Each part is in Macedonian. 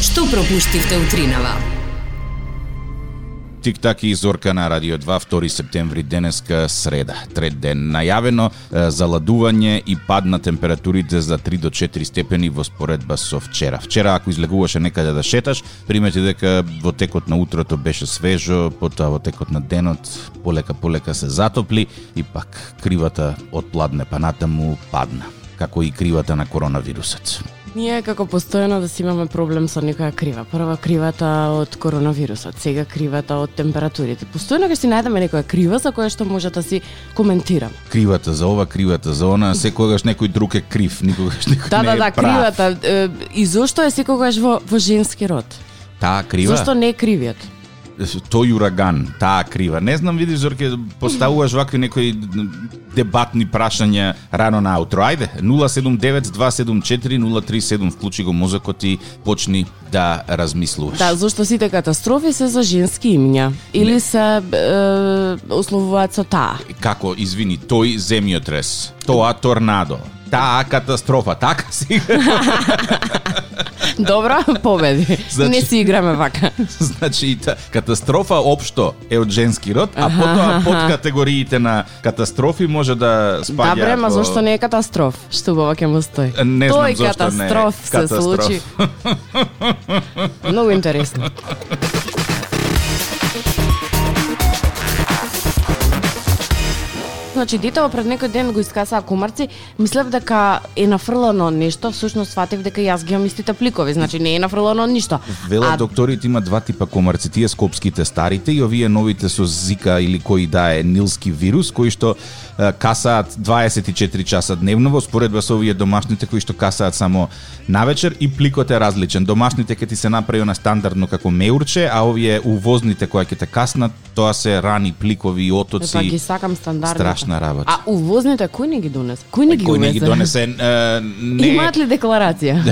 што пропуштивте утринава. Тик-так и Зорка на Радио 2, 2 септември денеска среда, трет ден. Најавено е, заладување и пад на температурите за 3 до 4 степени во споредба со вчера. Вчера ако излегуваше некаде да шеташ, примети дека во текот на утрото беше свежо, потоа во текот на денот полека полека се затопли и пак кривата отпладне, па натаму падна, како и кривата на коронавирусот. Ние како постојано да си имаме проблем со некоја крива. Прва кривата од коронавирусот, сега кривата од температурите. Постојано ќе си најдеме некоја крива за која што може да си коментирам. Кривата за ова, кривата за она, секогаш некој друг е крив, никогаш некој Да, не да, е да, прав. кривата. е, И зошто е секогаш во, во женски род? Таа крива? Зошто не е кривиот? тој ураган, таа крива. Не знам, видиш, Зорке, поставуваш вакви некои дебатни прашања рано наутро. Ајде, 079-274-037, вклучи го мозокот и почни да размислуваш. Да, зошто сите катастрофи се за женски имња? Или Не. се е, условуваат со таа? Како, извини, тој земјотрес, тоа торнадо, таа катастрофа, така си Добро, победи. Значи- Не си играме вака. Значи, и та, катастрофа општо е од женски род, а потоа под категориите на катастрофи може да Да спаѓа. бре, ма во- зошто не е катастроф? Што убаво ќе му стои? Не знам Тој зошто не е катастроф се катастроф. случи. Многу интересно. Значи, детето пред некој ден го искасаа кумарци, мислев дека е нафрлано нешто, всушност сватев дека јас ги имам истите пликови, значи не е нафрлано ништо. Вела а докторите има два типа комарци, тие скопските старите и овие новите со зика или кои да е нилски вирус кои што е, касаат 24 часа дневно во споредба со овие домашните кои што касаат само навечер и пликот е различен. Домашните ќе ти се направи на стандардно како меурче, а овие увозните кои ќе те каснат, тоа се рани пликови и Е, па ги отоци. сакам стандардно. Страшна работа. А увозните кој не ги донесе? Кој не ги Кој не ги увезе? донесе е, не Да, Имаат ли декларација?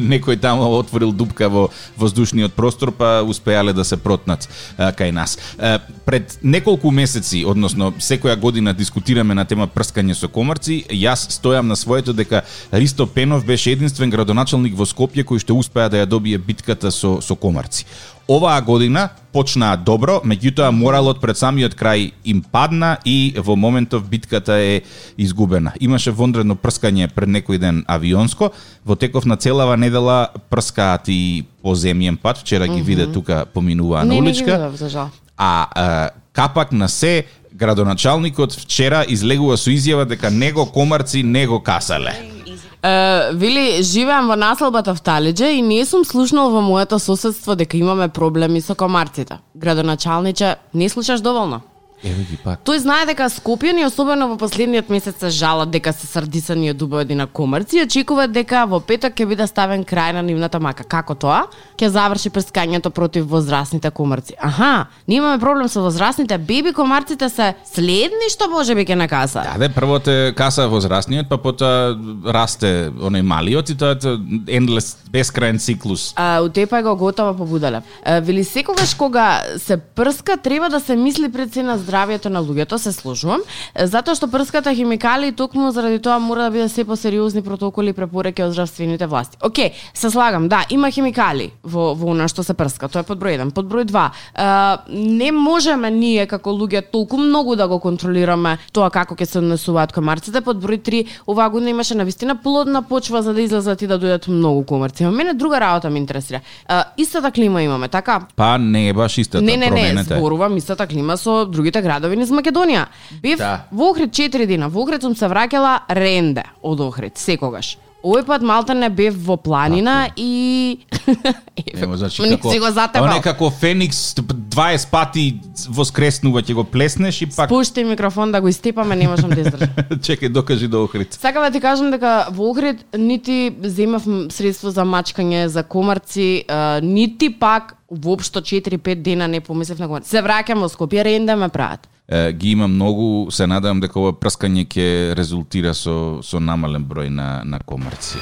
некој таму отворил дупка во воздушниот простор, па успеале да се протнат а, кај нас. А, пред неколку месеци, односно секоја година дискутираме на тема прскање со комарци, јас стојам на своето дека Ристо Пенов беше единствен градоначалник во Скопје кој што успеа да ја добие битката со со комарци. Оваа година почнаа добро, меѓутоа моралот пред самиот крај им падна и во моментов битката е изгубена. Имаше вонредно прскање пред некој ден авионско, во теков на целава недела прскаат и поземјен пат, вчера ги виде тука поминуваа на Не, не ги уличка, видов, за жал. а, а капак на се градоначалникот вчера излегува со изјава дека него комарци него касале. Е, вели, живеам во населбата Вталиџе и не сум слушнал во моето соседство дека имаме проблеми со комарците. Градоначалниче, не слушаш доволно. Еве ги па. пак. Тој знае дека Скопјани, особено во последниот месец, се жалат дека се срдисани од убаводи на комарци и очекуваат дека во петок ќе биде ставен крај на нивната мака. Како тоа? Ќе заврши прскањето против возрастните комарци. Аха, ние имаме проблем со возрастните, беби комарците се следни што можеби ќе накаса. Да, де, прво те каса возрастниот, па потоа расте оној малиот и тоа е endless, бескраен циклус. А, утепај го готова побудале. А, вели секогаш кога се прска треба да се мисли пред се на здравјето на луѓето, се служувам, е, затоа што прската химикали и токму заради тоа мора да биде се посериозни протоколи и препораки од здравствените власти. Океј, се слагам, да, има химикали во во она што се прска, тоа е под број 1, под број 2. А, не можеме ние како луѓе толку многу да го контролираме тоа како ќе се однесуваат комарците. Под број 3, оваа година имаше навистина плодна почва за да излезат и да дојдат многу комарци. Ама мене друга работа ме интересира. А, истата клима имаме, така? Па не е баш истата Не, не, не, промената. е. зборувам истата клима со другите градови низ Македонија. Бев Да. во Охрид 4 дена, во Охрид сум се враќала ренде од Охрид, секогаш. Овој пат малта не бев во Така. планина и... Нема, значи, Ни како, си го затепал. Оне како Феникс т- 20 пати воскреснува, ќе го плеснеш и пак... Пушти микрофон да го истепаме, не можам да издржам. Чекај, докажи до Охрид. Сакам да ти кажам дека во Охрид нити земав средство за мачкање, за комарци, е, нити пак воопшто 4-5 дена не помислев на комарци. Се враќам во Скопје, ренда ме прават. Е, ги има многу, се надевам дека ова прскање ќе резултира со, со намален број на, на комарци.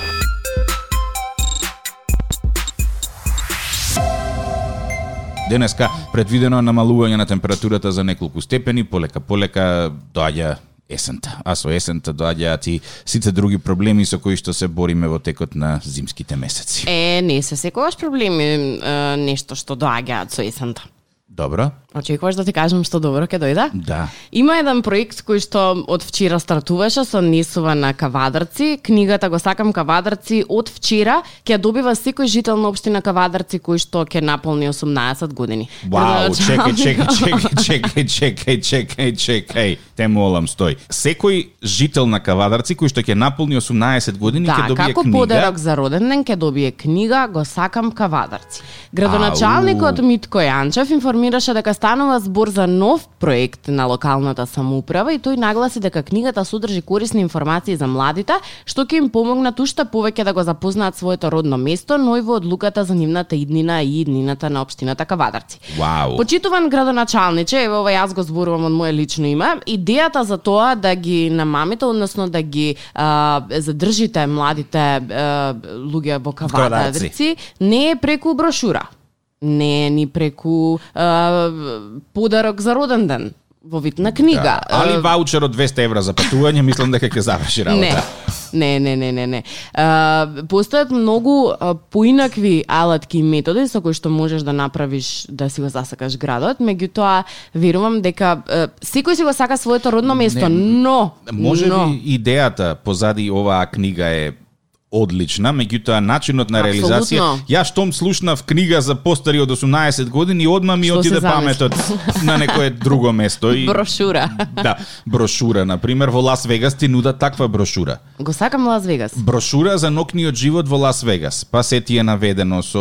Денеска предвидено намалување на температурата за неколку степени, полека полека доаѓа есента. А со есента доаѓаат и сите други проблеми со кои што се бориме во текот на зимските месеци. Е, не се секогаш проблеми е, нешто што доаѓаат со есента. Добро? Очекуваш да ти кажам што добро ќе дојде? Да. Има еден проект кој што од вчера стартуваше со несува на Кавадарци. Книгата го сакам Кавадарци од вчера ќе ја добива секој жител на општина Кавадарци кој што ќе наполни 18 години. Вау, Треба да чекај, чекам. чекај, чекај, чекај, чекај, чекај, чекај. Те молам, стој. Секој жител на Кавадарци кој што ќе наполни 18 години ќе Да, добие како книга. подарок за роден ден ќе добие книга Го сакам кавадарци. Градоначалникот Ау. Митко Јанчев информираше дека станува збор за нов проект на локалната самоуправа и тој нагласи дека книгата содржи корисни информации за младите, што ќе им помогнат уште повеќе да го запознаат своето родно место, но и во одлуката за нивната иднина и иднината на општината Кавадарци. Вау. Почитуван градоначалниче, ево ова јас го зборувам од мое лично име, идејата за тоа да ги намамите, односно да ги а, задржите младите а, луѓе во кавадарци, не е преку брошура. Не е ни преку а, подарок за роден ден во вид на книга. Да. Али ваучер од 200 евра за патување, мислам дека ќе заврши Не. работа. Не, не, не, не, не. А, постојат многу а, поинакви алатки и методи со кои што можеш да направиш да си го засакаш градот, меѓутоа верувам дека а, секој си го сака своето родно место, но Може но, би идејата позади оваа книга е одлична, меѓутоа начинот на реализација. Апсолутно. Ја штом слушнав книга за постари од 18 години, одма ми Што се отиде замисли? паметот на некое друго место и брошура. да, брошура на пример во Лас Вегас ти нуда таква брошура. Го сакам Лас Вегас. Брошура за нокниот живот во Лас Вегас. Па се ти е наведено со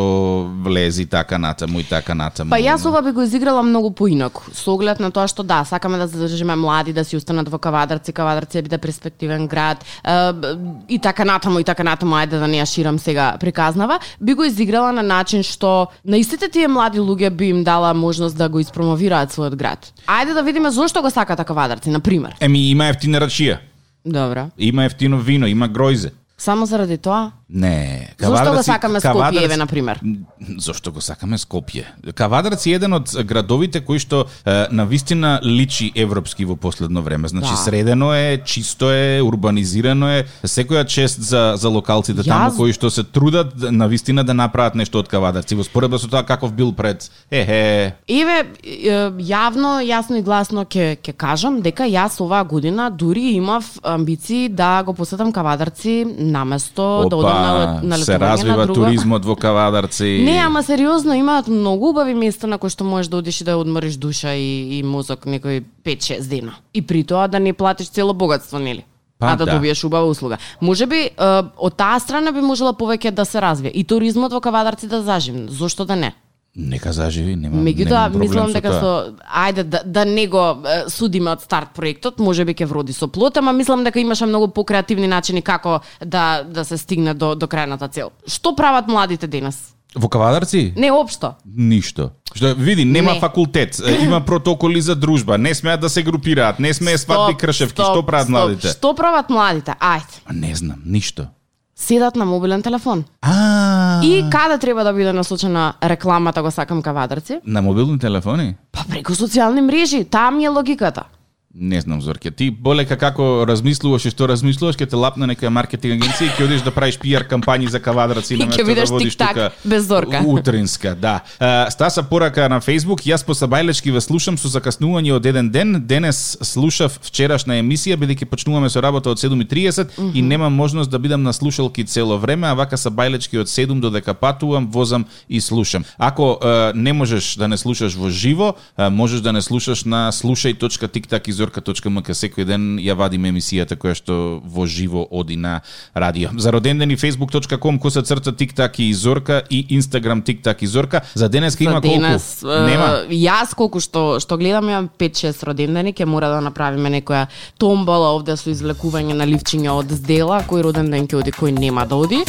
влези така натаму и така натаму. Па јас ова би го изиграла многу поинаку, со оглед на тоа што да, сакаме да задржиме млади, да си останат во Кавадарци, Кавадарци да биде перспективен град, е, б- и така натаму, и така натаму, ајде да не ја ширам сега приказнава, би го изиграла на начин што на истите тие млади луѓе би им дала можност да го испромовираат својот град. Ајде да видиме зошто го сакате Кавадарци, на пример. Еми има ефтина рачија, Добро. има ефтино вино, има гројзе. Само заради тоа? Не, Зошто го Кавадарци- сакаме Кавадарци- Скопје, еве, на пример? Зошто го сакаме Скопје? Кавадарци е еден од градовите кои што е, на вистина личи европски во последно време. Значи Да. средено е, чисто е, урбанизирано е. Секоја чест за за локалците Јас- таму кои што се трудат на вистина да направат нешто од Кавадарци во споредба со тоа каков бил пред. Ехе, Еве, е, јавно, јасно и гласно ќе ќе кажам дека јас оваа година дури имав амбиции да го посетам Кавадарци наместо да одам на, лет- на се летување на развива друга. туризмот во Кавадарци. Не, ама сериозно, имаат многу убави места на кои што можеш да одиш и да одмориш душа и, и мозок некои 5-6 дена. И при тоа да не платиш цело богатство, нели? Па, а да, да. добиеш убава услуга. Може би е, од таа страна би можела повеќе да се развие и туризмот во Кавадарци да заживне. Зошто да не? Нека заживи, нема Меѓутоа, немам проблем мислам со дека тоа. со ајде да, да не го е, судиме од старт проектот, може би ќе вроди со плот, ама мислам дека имаше многу покреативни начини како да да се стигне до до крајната цел. Што прават младите денес? во Кавадарци? Не општо. Ништо. Што види, нема Не. не. факултет, е, има протоколи за дружба, не смеат да се групираат, не смее сватби Стоп, кршевки, стоп, што прават стоп. младите? Што прават младите? Ајде, Па Не знам, ништо. седат на мобилен телефон. А, И каде треба да биде насочена рекламата, го сакам кавадарци? на мобилни телефони? Па преку социјални мрежи, таа ми е логиката. Не знам, Зорке. Ти болека како размислуваш и што размислуваш, ќе те лапне некоја маркетинг агенција и ќе одиш да правиш пиар кампањи за кавадраци И ќе на место да бидеш водиш тик-так, тука. без Зорка. Утринска, да. А, Стаса порака на Facebook, јас по Сабајлечки ве слушам со закаснување од еден ден. Денес слушав вчерашна емисија, бидејќи почнуваме со работа од 7.30 и немам можност да бидам на слушалки цело време, а вака Сабајлечки од 7 додека патувам, возам и слушам. Ако е, не можеш да не слушаш во живо, е, можеш да не слушаш на slušaj.tiktakizorka.mk секој ден ја вадиме емисијата која што во живо оди на радио. За роденден и facebook.com коса црта тиктак и зорка и instagram тиктак и зорка. За денеска има За денес, колку? Нема. е, Јас колку што што гледам имам 5-6 родендени, ќе мора да направиме некоја томбола овде со извлекување на ливчиња од здела, кој роден ден ќе оди, кој нема да оди.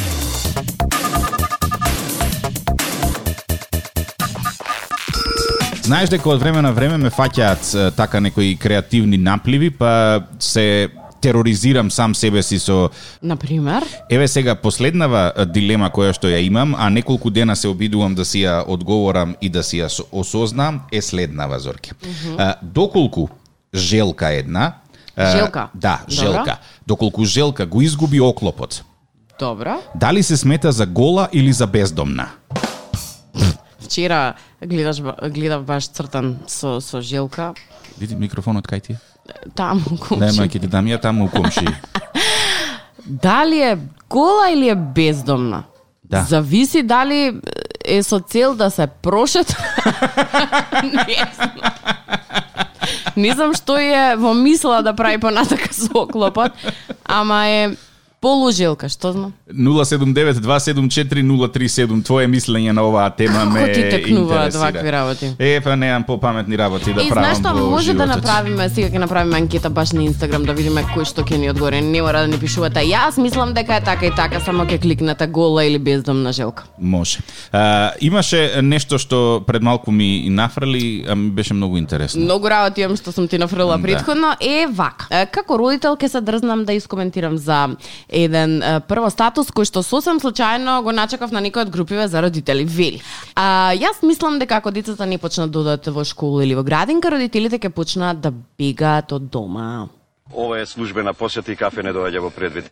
Знаеш дека од време на време ме фаќаат е, така некои креативни напливи, па се тероризирам сам себе си со На пример, Еве сега последнава е, дилема која што ја имам, а неколку дена се обидувам да си ја одговорам и да си ја со- осознам е следнава зорке. Mm -hmm. Доколку желка една Е, Желка. Да, Добро. желка. Доколку желка го изгуби оклопот, Добро. дали се смета за гола или за бездомна? Вчера гледаш, ба- гледав баш цртан со, со желка. Види микрофонот кај ти е? Таму, Дај комши. ма ќе ти дам ја таму у комши. Дали е гола или е бездомна? Да. Зависи дали е со цел да се прошет. не знам. Не знам што е во мисла да прави понатака со оклопот, ама е полужелка, што знам. 079-274-037 Твое мислење на оваа тема Како ме ти текнуваат интересира. вакви работи? Е, па немам попаметни работи да и правам знаеш што, во може да животот. направиме, сега ќе направиме анкета баш на Инстаграм да видиме кој што ќе ни одговори. Не мора да ни пишувате. Јас мислам дека е така и така, само ќе кликнете гола или бездомна желка. Може. А, имаше нешто што пред малку ми нафрли, а ми беше многу интересно. Многу работи имам што сум ти нафрлила Да. предходно. Е, вака. Е, Како родител ке се дрзнам да искоментирам за еден е, прво статус кој што сосем случајно го начекав на некој од групиве за родители. Вели. А, јас мислам дека ако децата не почнат да одат во школа или во градинка, родителите ќе почнат да бегаат од дома. Ова е службена посета и кафе не доаѓа во предвид.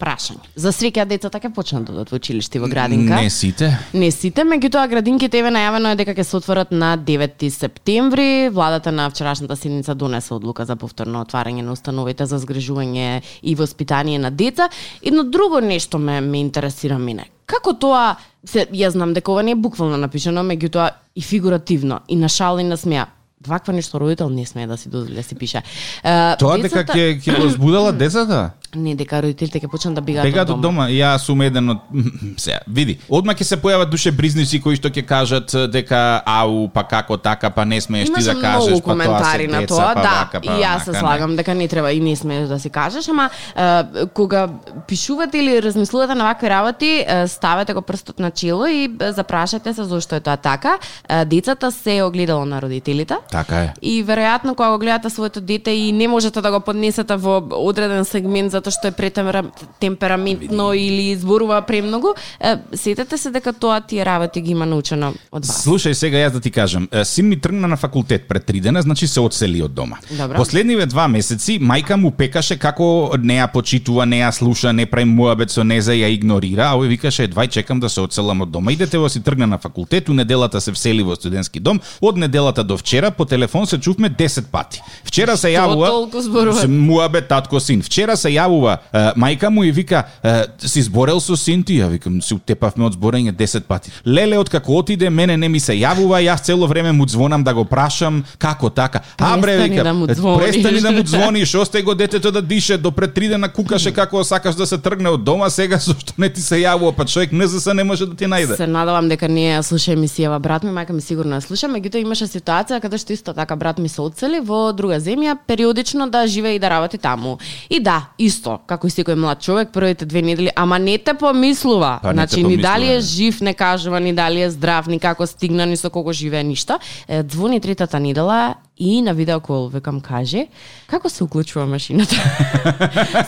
Прашање. За среќа децата ќе почнат да одат во училиште и во градинка. Не сите. Не сите, меѓутоа градинките еве најавено е дека ќе се отворат на 9 септември. Владата на вчерашната седница донесе одлука за повторно отварање на установите за згрижување и воспитание на деца. Едно друго нешто ме ме интересира мене. Како тоа се ја знам дека ова не е буквално напишано, меѓутоа и фигуративно и на шала и на смеа. Ваква нешто родител не смее да си дозволи да си пише. Е, Тоа дека ќе ќе го збудала децата? не дека родителите ќе почнат да бегаат од Бегаат од дома. дома. Јас сум еден од сега, види. Одма ќе се појават душе бризници кои што ќе кажат е, дека ау, па како така, па не смееш ти Имаше да кажеш, многу па тоа се коментари на деца, тоа, па да, вака, па и јас се онака, слагам дека не треба и не смееш да си кажеш, ама е, кога пишувате или размислувате на вакви работи, е, ставете го прстот на чело и е, запрашате се зошто е тоа така. Е, децата се огледало на родителите. Така е. И веројатно кога го гледате своето дете и не можете да го поднесете во одреден сегмент затоа што е претемпераментно или зборува премногу, е, сетете се дека тоа тие работи ги има научено од вас. Слушај сега јас да ти кажам, е, син ми тргна на факултет пред три дена, значи се одсели од дома. Добро. Последниве два месеци мајка му пекаше како не ја почитува, не ја слуша, не прави муабет со неза, ја игнорира, а овој викаше едвај чекам да се одселам од дома. И детево си тргна на факултет, у неделата се всели во студентски дом, од неделата до вчера по телефон се чувме 10 пати. Вчера се Што јавува толку зборува? Се муабет татко син. Вчера се јавува е, мајка му и вика е, си зборел со син ти, ја викам се утепавме од зборење 10 пати. Леле од како отиде мене не ми се јавува, јас цело време му звонам да го прашам како така. А бре Престани вика да му «Е, звониш». престани да му звониш, остави го детето да дише, до пред три дена кукаше како сакаш да се тргне од дома, сега зошто не ти се јавува, па човек не за се не може да ти најде. Се надавам дека не ја слуша емисијава брат ми, мајка ми сигурно ја слуша, меѓутоа имаше ситуација каде што исто така брат ми се одсели во друга земја, периодично да живее и да работи таму. И да, исто, како и секој млад човек, првите две недели, ама не те помислува. Па не те значи, ни помислува, дали е да. жив, не кажува, ни дали е здрав, ни како стигна, ни со кого живее, ништо. Е, Звони третата недела и на видеокол векам каже, како се уклучува машината?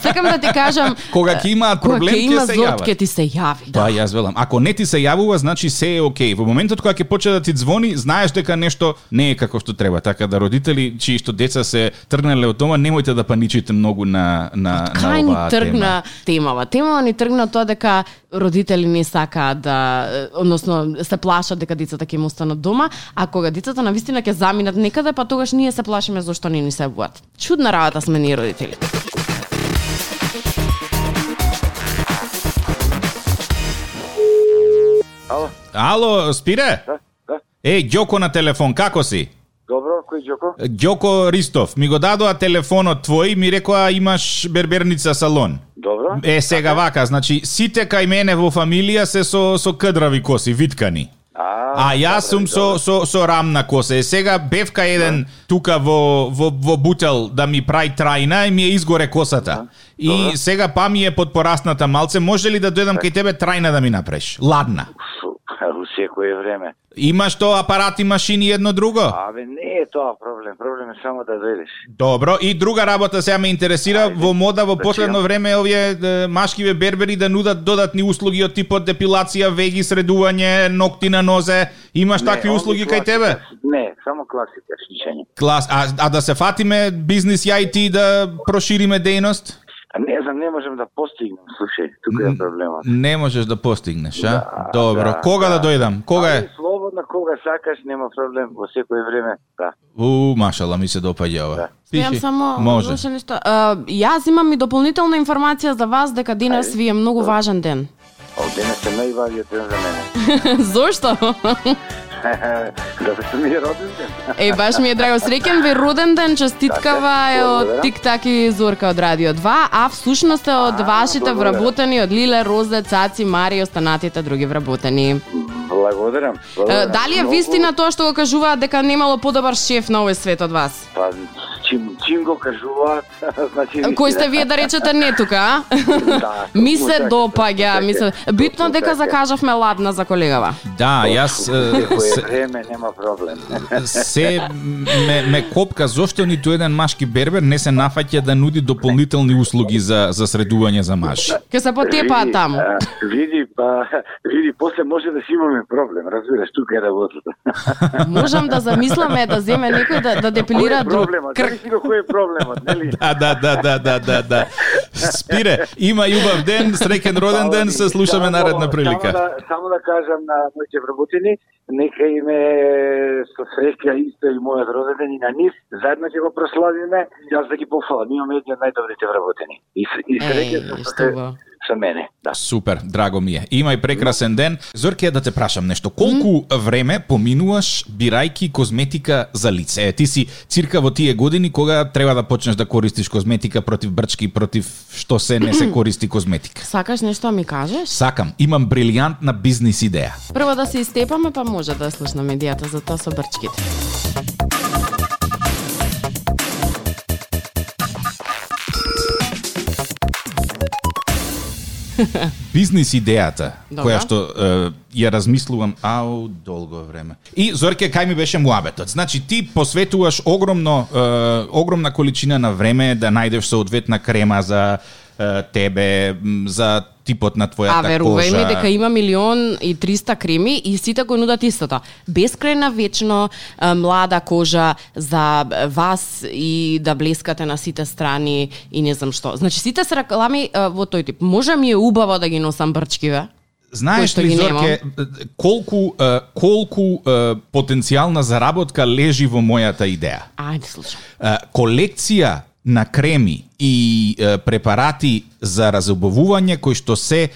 Сакам да ти кажам, Кога ќе имаат кога проблем, ќе ќе има се зорт, јават. ќе ти се јави. Да, јас велам. Ако не ти се јавува, значи се е окей. Во моментот кога ќе почне да ти звони, знаеш дека нешто не е како што треба. Така да родители чии што деца се тргнале од дома, немојте да паничите многу на на на Кај ни оваа тема. тргна темава? Темава ни тргна тоа дека родители не сакаат да, е, односно се плашат дека децата ќе им останат дома, а кога децата на вистина ќе заминат некаде, па тогаш ние се плашиме зашто не ни се јавуваат. Чудна работа сме ние родители. Ало, Ало, спире? да, да. Е, Ѓоко на телефон, како си? Добро, кој Ѓоко? Ѓоко Ристов, ми го дадоа телефонот твој, ми рекоа имаш берберница салон. Добро. Е, сега вака, значи, сите кај мене во фамилија се со, со кдрави коси, виткани. А јас сум со, со, со рамна коса. Е, сега бевка Да. еден тука во, во, во бутел да ми прај трајна и ми е изгоре Да. косата. И сега па ми е под порасната малце. Може ли да дојдам кај тебе трајна да ми направиш? Ладна. Фу, У секое време. Имаш тоа апарати, машини, едно друго? Абе, не е тоа проблем. Проблем е само да дојдеш. Добро, и друга работа сега ме интересира, Ајде, во мода во да последно чујам. време овие е, машкиве бербери да нудат додатни услуги од типот депилација, веги, средување, ногти на нозе. Имаш такви Не, услуги онли кај тебе? класика. Не, само класика шишење. Клас, а, а да се фатиме бизнис ја и ти да прошириме дејност? А не знам, не можам да постигнем, слушај, тука е проблемот. Не можеш да постигнеш, а? Да, Добро. да, кога да, да. дојдам? Кога е? Али Слободно, кога сакаш, нема проблем, во секој време, да. У, машала, ми се допаѓа ова. Да. Спијам Пиши. само Може. лошо нешто. А, јас имам и дополнителна информација за вас дека денес Ајде. ви е многу важен ден. О, денес е најважниот ден за мене. Зошто? Зато што ми е роден ден. Е, баш ми е драго. Среќен ви роден ден, честиткава е од Така, благодарам. Тик Так и Зорка од Радио 2, а всушност е од А, вашите благодарам. вработени од Лиле, Розе, Цаци, Мари и останатите други вработени. Благодарам. Е, благодарам. Дали е Многу- вистина тоа што го кажуваат дека немало подобар шеф на овој свет од вас? Па, чим, чим го кажуваат, значи... вистина. Кој сте вие да речете не тука, а? Да, Ми точно се така, допаѓа, точно ми се... така. Битно Точно дека така. закажавме ладна за колегава. Да, јас е, Секој се, време нема проблем. се ме, ме копка зошто ниту еден машки бербер не се нафаќа да нуди дополнителни услуги за за средување за маши. Ке се потепаа Па Види, таму. а, Види, па, види, после може да си имаме проблем, разбираш, тука е работата. Можам да замисламе да земе некој да, да Кој депилира е друг проблемот? крк. Крк. Си го кој е проблемот, нели? Да, да, да, да, да, да, да. Спире, има јубав ден, среќен роден ден, се слушаме Да, Само- наредна прилика. Само да, само да кажам на моите вработени, нека име со среќа исто и мојот роден ден и на нив, заедно ќе го прославиме, јас да ги пофалам, имаме едни од најдобрите вработени. И, с- и среќа Еј, со, што го. со мене, да. Супер, драго ми е. Имај прекрасен ден. Зорке, да те прашам нешто. Колку време поминуваш бирајки козметика за лице? Е, ти си цирка во тие години кога треба да почнеш да користиш козметика против брчки, против што се не се користи козметика. Сакаш нешто да ми кажеш? Сакам, имам брилијантна бизнис идеја. Прво да се истепаме, па може да ја слушнаме идејата за тоа со брчките. Бизнис идејата Добра. која што е, ја размислувам ау долго време. И Зорке кај ми беше муабетот. Значи ти посветуваш огромно е, огромна количина на време да најдеш соодветна крема за е, тебе, м, за типот на твојата А верувај така кожа. ми дека има милион и 300 креми и сите го нудат истото. Бескрајна вечно е, млада кожа за е, вас и да блескате на сите страни и не знам што. Значи сите се реклами е, во тој тип. Може ми е убаво да ги носам брчкиве? Знаеш Кој што ли ги Зорке колку е, колку е, потенцијална заработка лежи во мојата идеја? Ајде да слушам. Е, колекција на креми и е, препарати за разобувување кои што се е,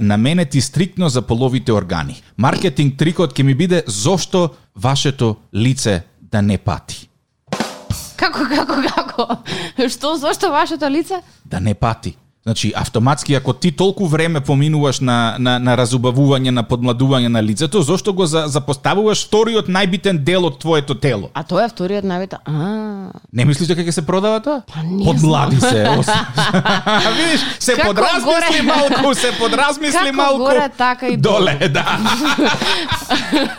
наменети стриктно за половите органи. Маркетинг трикот ќе ми биде зошто вашето лице да не пати. Како, како, како? Што, зошто вашето лице? Да не пати. Значи, автоматски, ако ти толку време поминуваш на, на, на разубавување, на подмладување на лицето, зошто го за, запоставуваш вториот најбитен дел од твоето тело? А тоа е вториот навита. А, Не мислиш дека ќе се продава тоа? Па не Подмлади се. ос- Видиш, се Како подразмисли горе. малку, се подразмисли Како малку. горе, така и долу. доле. да.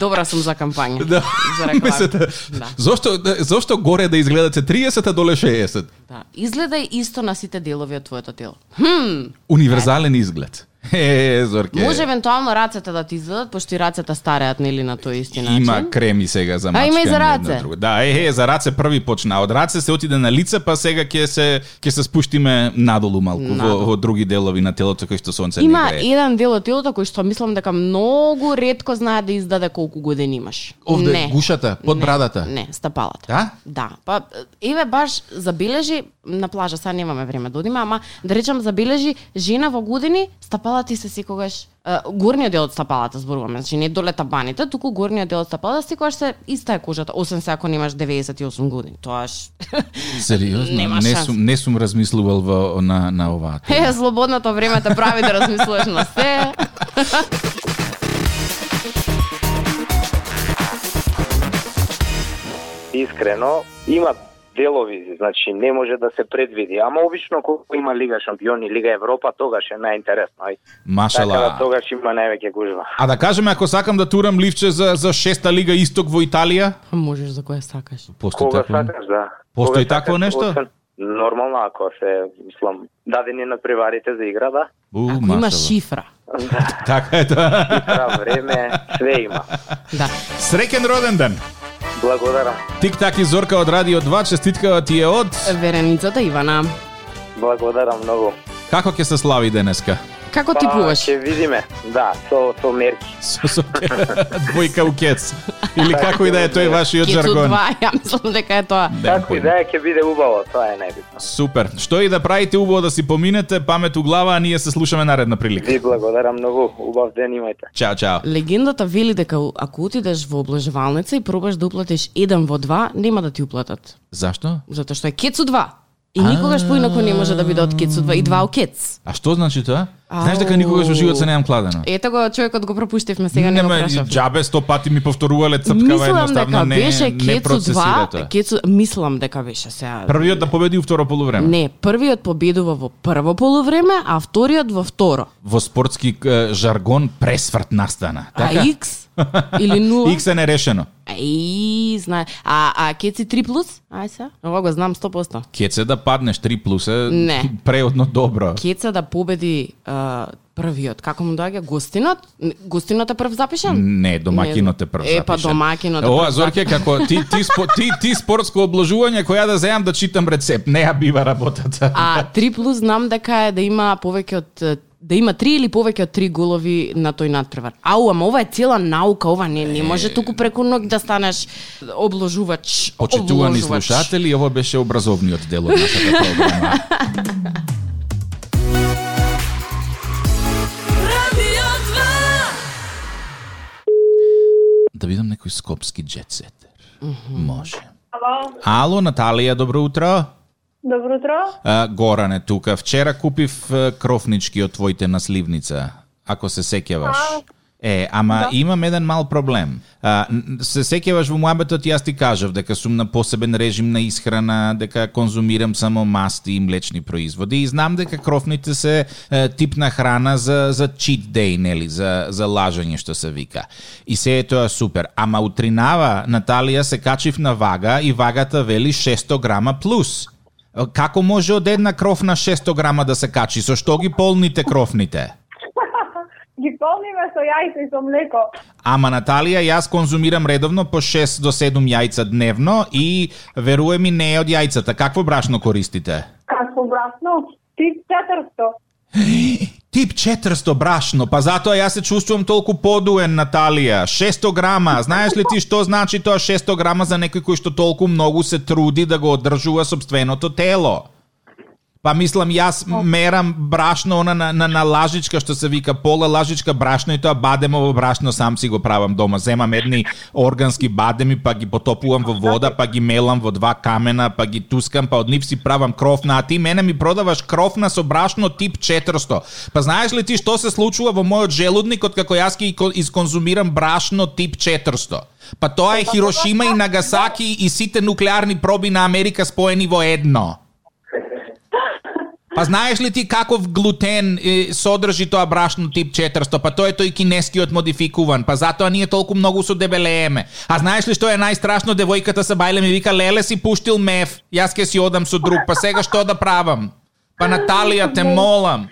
добра сум за кампања. да. За реклама. Мислите, Да. Зошто зошто горе да изгледате 30, а доле 60? Да. Изгледа исто на сите делови од твоето тело. Универзален изглед. Е, Зорке. Така. Може евентуално рацете да ти изгледат, пошто и рацете стареат нели на тој исти начин. Има да креми сега за А, мачкање. има и за едно раце. друго. Да, е, е, за раце први почна. Од раце се отиде на лице, па сега ќе се ќе се спуштиме надолу малку во, Надолу. во други делови на телото кои што сонце Има не грее. еден дел од телото кој што мислам дека многу ретко знае да издаде колку години имаш. Овде, не. гушата, под брадата. Не, стапалата. Да? Да. Па еве баш забележи на плажа, сега немаме време да одиме, ама да речам забележи жена во години стапалата и се секогаш е, горниот дел од стапалата зборуваме, значи не доле табаните, туку горниот дел од стапалата секогаш се иста е кожата, освен се ако немаш 98 години. Тоаш Сериозно, Нема не шанс. сум не сум размислувал во на на оваа. тема. е слободното време те прави да размислуваш на се. искрено, има делови, значи не може да се предвиди, ама обично кога има Лига Шампиони, Лига Европа, тогаш е најинтересно. ај. Така да Машала. тогаш има највеќе гужва. А да кажеме ако сакам да турам ливче за за шеста лига исток во Италија, Можеш за која сакаш. постои Кога такво. сакаш да. Постои Кога такво сакаш, нешто? освен- Нормално ако се, мислам, дадени на преварите за игра, да. У, Ако машала. има шифра. Така е тоа. Пра време, све има. Да. Среќен роден ден. Благодарам. Тик-так и Зорка од Радио 2, честиткава ти е од... Вереницата Ивана. Благодарам многу. Како ќе се слави денеска? Како ти пуваш? Па, Ќе видиме. Да, со, со мерки. Со, со двојка у кец. Или Така како и да е тој вашиот Кецу жаргон. 2, ја мислам дека е тоа. Немам Како и појма. да е, ќе биде убаво, тоа е најбитно. Супер. Што и да правите, убаво да си поминете, памет у глава, а ние се слушаме наредна прилика. Ви благодарам многу. Убав ден имајте. Чао, чао. Легендата вели дека ако отидеш во облежувалница и пробаш да уплатиш еден во два, нема да ти уплатат. Зашто? Затоа што е кецу 2. И никогаш поинаку не може да биде од кецу 2 и 2 у кец. А што значи тоа? Ау. Знаеш дека никогаш во живот се немам кладено. Ето го, така, човекот го пропуштивме, сега не го Нема, прашав. Джабе сто пати ми повторувале црткава Мислам дека едноставно не, беше не кецу процесира 2, тоа. кецу, мислам дека беше сега. Првиот да победи у второ полувреме. Не, првиот победува во прво полувреме, а вториот во второ. Во спортски е, жаргон пресврт настана. Така? А X или 0. Икс е нерешено. Ај, знае. А, а кеци 3 плюс? Ај се. Ова го знам 100%. Кеце да паднеш 3 плюс е Не. преодно добро. Кеца да победи а, првиот. Како му доаѓа гостинот? Н- Гостинот е прв запишан? Не, домакинот е прв. Е, па запишен. домакинот е Ова прв Зорке како ти ти спо, ти ти спортско обложување која да земам да читам рецепт, не ја бива работата. А 3 плюс знам дека е да има повеќе од е, да има три или повеќе од три голови на тој надпревар. Ау, ама ова е цела наука, ова не, не може туку преку ног да станеш обложувач. Почитувани обложувач. слушатели, ово беше образовниот дел од нашата програма. Radio 2. да видам некој скопски джетсетер. Може. Ало, Наталија, добро утро. Добро утро. А, Горан е тука. Вчера купив а, крофнички од твоите на сливница, ако се сеќаваш. Е, ама да. имам еден мал проблем. А, н- се сеќаваш во муабетот, јас ти кажав дека сум на посебен режим на исхрана, дека конзумирам само масти и млечни производи и знам дека крофните се е, тип на храна за за cheat day, нели, за за лажење што се вика. И се е тоа супер, ама утринава Наталија се качив на вага и вагата вели 600 грама плюс. Како може од една крофна 600 грама да се качи? Со што ги полните крофните? Ги полниме со јајца и со млеко. Ама Наталија, јас конзумирам редовно по 6 до 7 јајца дневно и веруе ми не е од јајцата. Какво брашно користите? Како брасно? Ти 400. Тип 400 брашно, па затоа јас се чувствувам толку подуен, Наталија. 600 грама, знаеш ли ти што значи тоа 600 грама за некој кој што толку многу се труди да го одржува собственото тело? Па мислам, јас мерам брашно, она на, на, на лажичка, што се вика пола лажичка брашно и тоа бадемово брашно сам си го правам дома. Земам едни органски бадеми, па ги потопувам во вода, па ги мелам во два камена, па ги тускам, па од нив си правам крофна, а ти мене ми продаваш крофна со брашно тип 400. Па знаеш ли ти што се случува во мојот желудник од како јас ги ко- изконзумирам брашно тип 400? Па тоа е Хирошима и Нагасаки и сите нуклеарни проби на Америка споени во едно. Па знаеш ли ти каков глутен е, содржи тоа брашно тип 400? Па тоа е тој кинескиот модификуван, па затоа ние толку многу со дебелееме. А знаеш ли што е најстрашно? Девојката се бајле ми вика, леле си пуштил меф, јас ке си одам со друг, па сега што да правам? Па Наталија, те молам.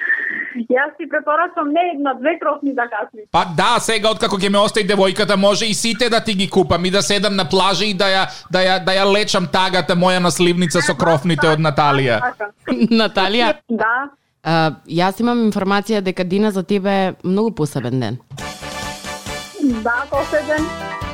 Јас ти препорачам не една, две кросни да касни. Па да, сега откако ќе ме остаи девојката, може и сите да ти ги купам и да седам на плажа и да ја, да ја, да ја лечам тагата моја насливница со крофните од Наталија. Така. Наталија, Да. а, јас имам информација дека Дина за тебе е многу посебен ден. Да, поседен.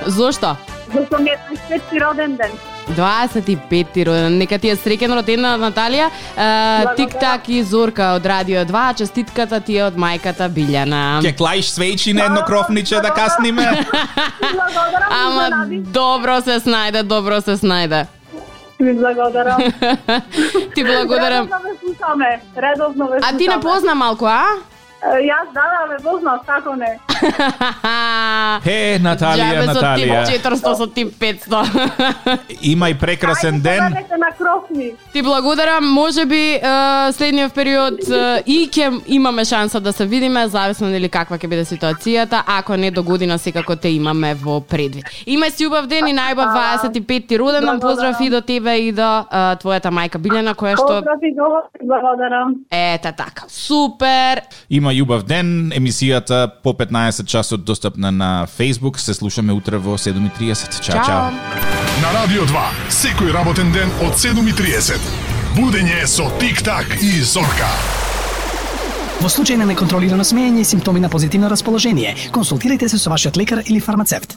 Зошто? Зашто ми е 25 роден ден. 25-ти роден. Нека ти е среќен роден на Наталија. Е, Тик-так и Зорка од Радио 2. Честитката ти е од мајката Билјана. Ќе клаиш свејчи на едно крофниче да касниме? Благодарам ви Ама заради. добро се снајде, добро се снајде. Ви благодарам. ти благодарам. Редовно ве слушаме. Редовно ве слушаме. А ти не позна малку, а? Е, Јас да, да, ве познав, како не. Е, Наталија, Джабе со Наталија. тип 400, со тип 500. Имај прекрасен Ајде, ден. побарете на крокни. Ти благодарам, може би е, следниот период е, и ќе имаме шанса да се видиме, зависно нели каква ќе биде ситуацијата, ако не до година секако те имаме во предвид. Имај си убав ден и најбав 25-ти роден ден, поздрав и до тебе и до е, твојата мајка Билјана која што Поздрави, добро, благодарам. Ета така. Супер. Има љубав ден. Емисијата по 15 часот достапна на Facebook. Се слушаме утре во 7:30. Чао, чао. Чао. На Радио 2, секој работен ден од 7.30. Будење со Тик-так и Зорка. Во случај на неконтролирано смеење и симптоми на позитивно расположение, консултирайте се со вашиот лекар или фармацевт.